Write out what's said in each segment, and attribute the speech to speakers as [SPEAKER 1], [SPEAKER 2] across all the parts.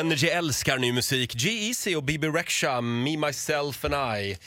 [SPEAKER 1] Energy älskar ny musik. G-Eazy och Bibi Rexha, Me, Myself and I.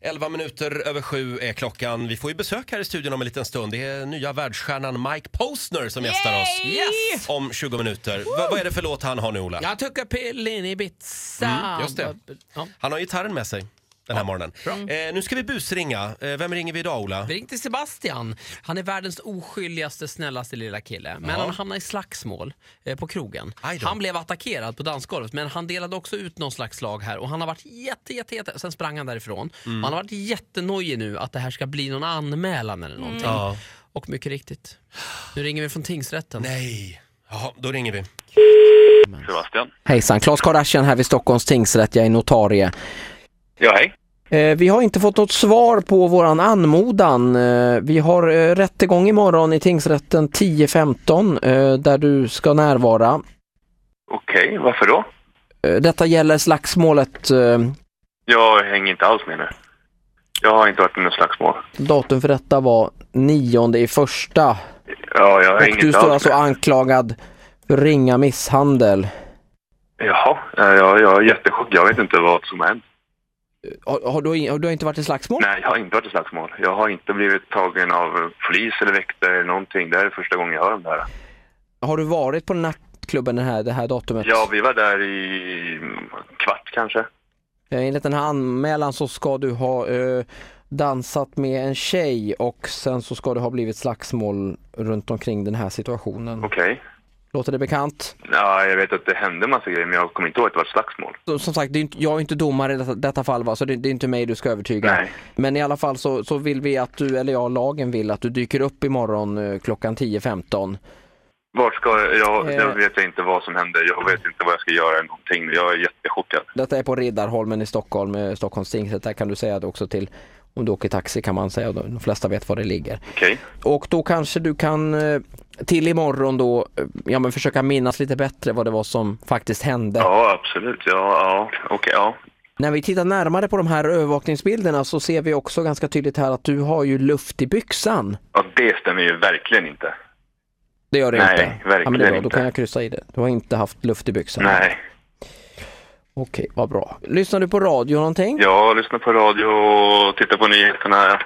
[SPEAKER 1] 11 minuter över sju är klockan. Vi får ju besök här i studion om en liten stund. Det är nya världsstjärnan Mike Posner som gästar oss
[SPEAKER 2] Yes!
[SPEAKER 1] om 20 minuter. Va- vad är det för låt han har nu, Ola?
[SPEAKER 2] Jag tycker pillen i pizza.
[SPEAKER 1] Mm, just det.
[SPEAKER 2] Ja.
[SPEAKER 1] Han har gitarren med sig den här morgonen. Eh, nu ska vi busringa. Eh, vem ringer vi idag, Ola?
[SPEAKER 2] Vi ringde till Sebastian. Han är världens oskyldigaste, snällaste lilla kille. Men han hamnade i slagsmål eh, på krogen.
[SPEAKER 1] Aj då.
[SPEAKER 2] Han blev attackerad på dansgolvet men han delade också ut någon slags slag här och han har varit jätte, jätte, jätte... Sen sprang han därifrån.
[SPEAKER 1] Mm.
[SPEAKER 2] Och Han har varit jättenojig nu att det här ska bli någon anmälan eller någonting.
[SPEAKER 1] Mm. Ja.
[SPEAKER 2] Och mycket riktigt. Nu ringer vi från tingsrätten.
[SPEAKER 1] Nej. Jaha, då ringer vi.
[SPEAKER 3] Sebastian.
[SPEAKER 4] Hejsan, Claes Kardashian här vid Stockholms tingsrätt. Jag är notarie.
[SPEAKER 3] Ja, hej.
[SPEAKER 4] Eh, vi har inte fått något svar på våran anmodan. Eh, vi har eh, rättegång imorgon i tingsrätten 10.15 eh, där du ska närvara.
[SPEAKER 3] Okej, varför då?
[SPEAKER 4] Eh, detta gäller slagsmålet. Eh,
[SPEAKER 3] Jag hänger inte alls med nu. Jag har inte varit i något slagsmål.
[SPEAKER 4] datum för detta var 9 i första.
[SPEAKER 3] Ja, jag
[SPEAKER 4] Och
[SPEAKER 3] hänger
[SPEAKER 4] du
[SPEAKER 3] inte
[SPEAKER 4] står
[SPEAKER 3] alls
[SPEAKER 4] alltså
[SPEAKER 3] med.
[SPEAKER 4] anklagad för ringa misshandel.
[SPEAKER 3] Jaha, eh, ja, jag, jag är jättechockad. Jag vet inte vad som har hänt.
[SPEAKER 4] Har, har, du, har du inte varit i slagsmål?
[SPEAKER 3] Nej, jag har inte varit i slagsmål. Jag har inte blivit tagen av polis eller väktare eller någonting. Det här är första gången jag hör om det här.
[SPEAKER 4] Har du varit på nattklubben det här, det här datumet?
[SPEAKER 3] Ja, vi var där i mm, kvart kanske.
[SPEAKER 4] Eh, Enligt den här anmälan så ska du ha eh, dansat med en tjej och sen så ska det ha blivit slagsmål runt omkring den här situationen.
[SPEAKER 3] Okej.
[SPEAKER 4] Låter det bekant?
[SPEAKER 3] Ja, jag vet att det hände massa grejer, men jag kommer inte ihåg att det var ett slagsmål.
[SPEAKER 4] Så- Som sagt, det är inte, jag är inte domare i detta, detta fall va, så det, det är inte mig du ska övertyga.
[SPEAKER 3] Nej.
[SPEAKER 4] Men i alla fall så, så vill vi att du, eller jag, lagen vill att du dyker upp imorgon eh, klockan 10.15.
[SPEAKER 3] Vart ska jag... jag
[SPEAKER 4] Eh.
[SPEAKER 3] Jag vet inte vad som hände. Jag vet inte vad jag ska göra eller någonting. Jag är jättechockad.
[SPEAKER 4] Detta är på Riddarholmen i Stockholm, eh, Stockholms tingsrätt. Där kan du säga det också till, om du åker taxi kan man säga, de flesta vet var det ligger.
[SPEAKER 3] Okej.
[SPEAKER 4] Och då kanske du kan eh, till imorgon då eh, ja, men försöka minnas lite bättre vad det var som faktiskt hände.
[SPEAKER 3] Ja, absolut. Ja, ja. okej, ja.
[SPEAKER 4] När vi tittar närmare på de här övervakningsbilderna så ser vi också ganska tydligt här att du har ju luft i byxan.
[SPEAKER 3] ja. Det stämmer ju verkligen inte.
[SPEAKER 4] Det gör det
[SPEAKER 3] Nej,
[SPEAKER 4] inte. ja, men det är
[SPEAKER 3] verkligen
[SPEAKER 4] bra. Då
[SPEAKER 3] inte.
[SPEAKER 4] kan jag kryssa i det. Du har inte haft luft i byxan.
[SPEAKER 3] Nej.
[SPEAKER 4] Okej, vad bra. Lyssnar du på radio någonting?
[SPEAKER 3] Jag lyssnar på radio och tittar på nyheterna.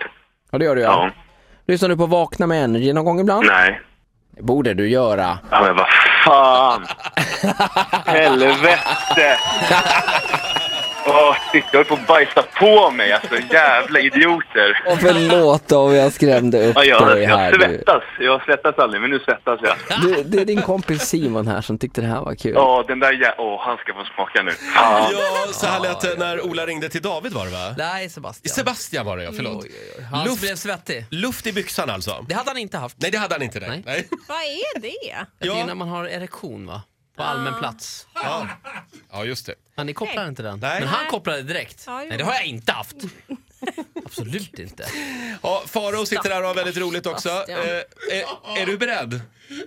[SPEAKER 4] Ja, det gör du ja.
[SPEAKER 3] Ja.
[SPEAKER 4] Lyssnar du på Vakna med Energy någon gång ibland?
[SPEAKER 3] Nej.
[SPEAKER 4] Det borde du göra.
[SPEAKER 3] Ja, men vad fan! Helvete! Åh, shit, jag höll på att bajsa på mig. Alltså, jävla idioter.
[SPEAKER 4] Och förlåt om jag skrämde upp
[SPEAKER 3] Ja, jag,
[SPEAKER 4] dig här.
[SPEAKER 3] jag
[SPEAKER 4] Du.
[SPEAKER 3] svettas. Jag svettas aldrig, men nu svettas jag.
[SPEAKER 4] Du, det är din kompis Simon här som tyckte det här var kul.
[SPEAKER 3] Ja, den där jä... Åh, han ska få smaka nu. Fan.
[SPEAKER 1] Ja, så här lät det när Ola ringde till David var det va?
[SPEAKER 2] Nej, Sebastian.
[SPEAKER 1] Sebastian var det ja, förlåt.
[SPEAKER 2] Oj, oj, oj. Han
[SPEAKER 1] Luft-
[SPEAKER 2] blev svettig.
[SPEAKER 1] Luft i byxan alltså?
[SPEAKER 2] Det hade han inte haft.
[SPEAKER 1] Nej, det hade han inte. Nej.
[SPEAKER 2] Nej.
[SPEAKER 1] Nej.
[SPEAKER 5] Vad är det?
[SPEAKER 2] Det
[SPEAKER 1] Ja.
[SPEAKER 2] är när man har erektion va? På allmän plats.
[SPEAKER 1] Ja. ja, just det.
[SPEAKER 2] Ja, ni kopplar inte den?
[SPEAKER 1] Nej.
[SPEAKER 2] Men han kopplade direkt.
[SPEAKER 5] Ja, jo.
[SPEAKER 2] Nej, det har jag inte haft. Absolut inte.
[SPEAKER 1] Ja, Faro sitter här och har väldigt roligt också.
[SPEAKER 5] Sebastian.
[SPEAKER 1] Eh, är, är du beredd?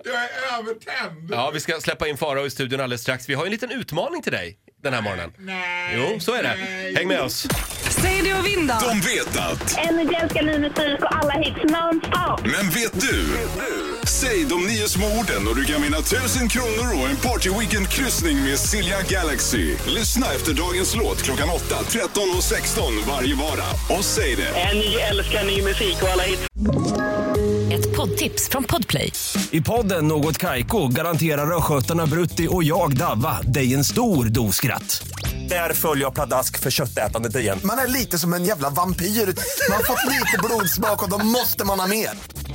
[SPEAKER 6] Jag är övertänd!
[SPEAKER 1] Ja, vi ska släppa in Faro i studion alldeles strax. Vi har ju en liten utmaning till dig den här morgonen.
[SPEAKER 6] Nej.
[SPEAKER 1] Jo, så är det. Häng med oss.
[SPEAKER 7] Säg det och vinn då!
[SPEAKER 8] De vet att,
[SPEAKER 9] Energy älskar ny musik och alla hits non-stop.
[SPEAKER 8] men vet du? Säg de nio små orden och du kan vinna tusen kronor och en partyweekendkryssning med Silja Galaxy. Lyssna efter dagens låt klockan 8, 13 och 16 varje vardag. Och säg det.
[SPEAKER 10] Energy älskar ny musik och alla hits.
[SPEAKER 7] Ett poddtips från Podplay.
[SPEAKER 11] I podden Något Kaiko garanterar östgötarna Brutti och jag, Davva, dig en stor dos skratt. Där följer jag pladask för köttätandet igen.
[SPEAKER 6] Man är lite som en jävla vampyr. Man har fått lite blodsmak och då måste man ha mer.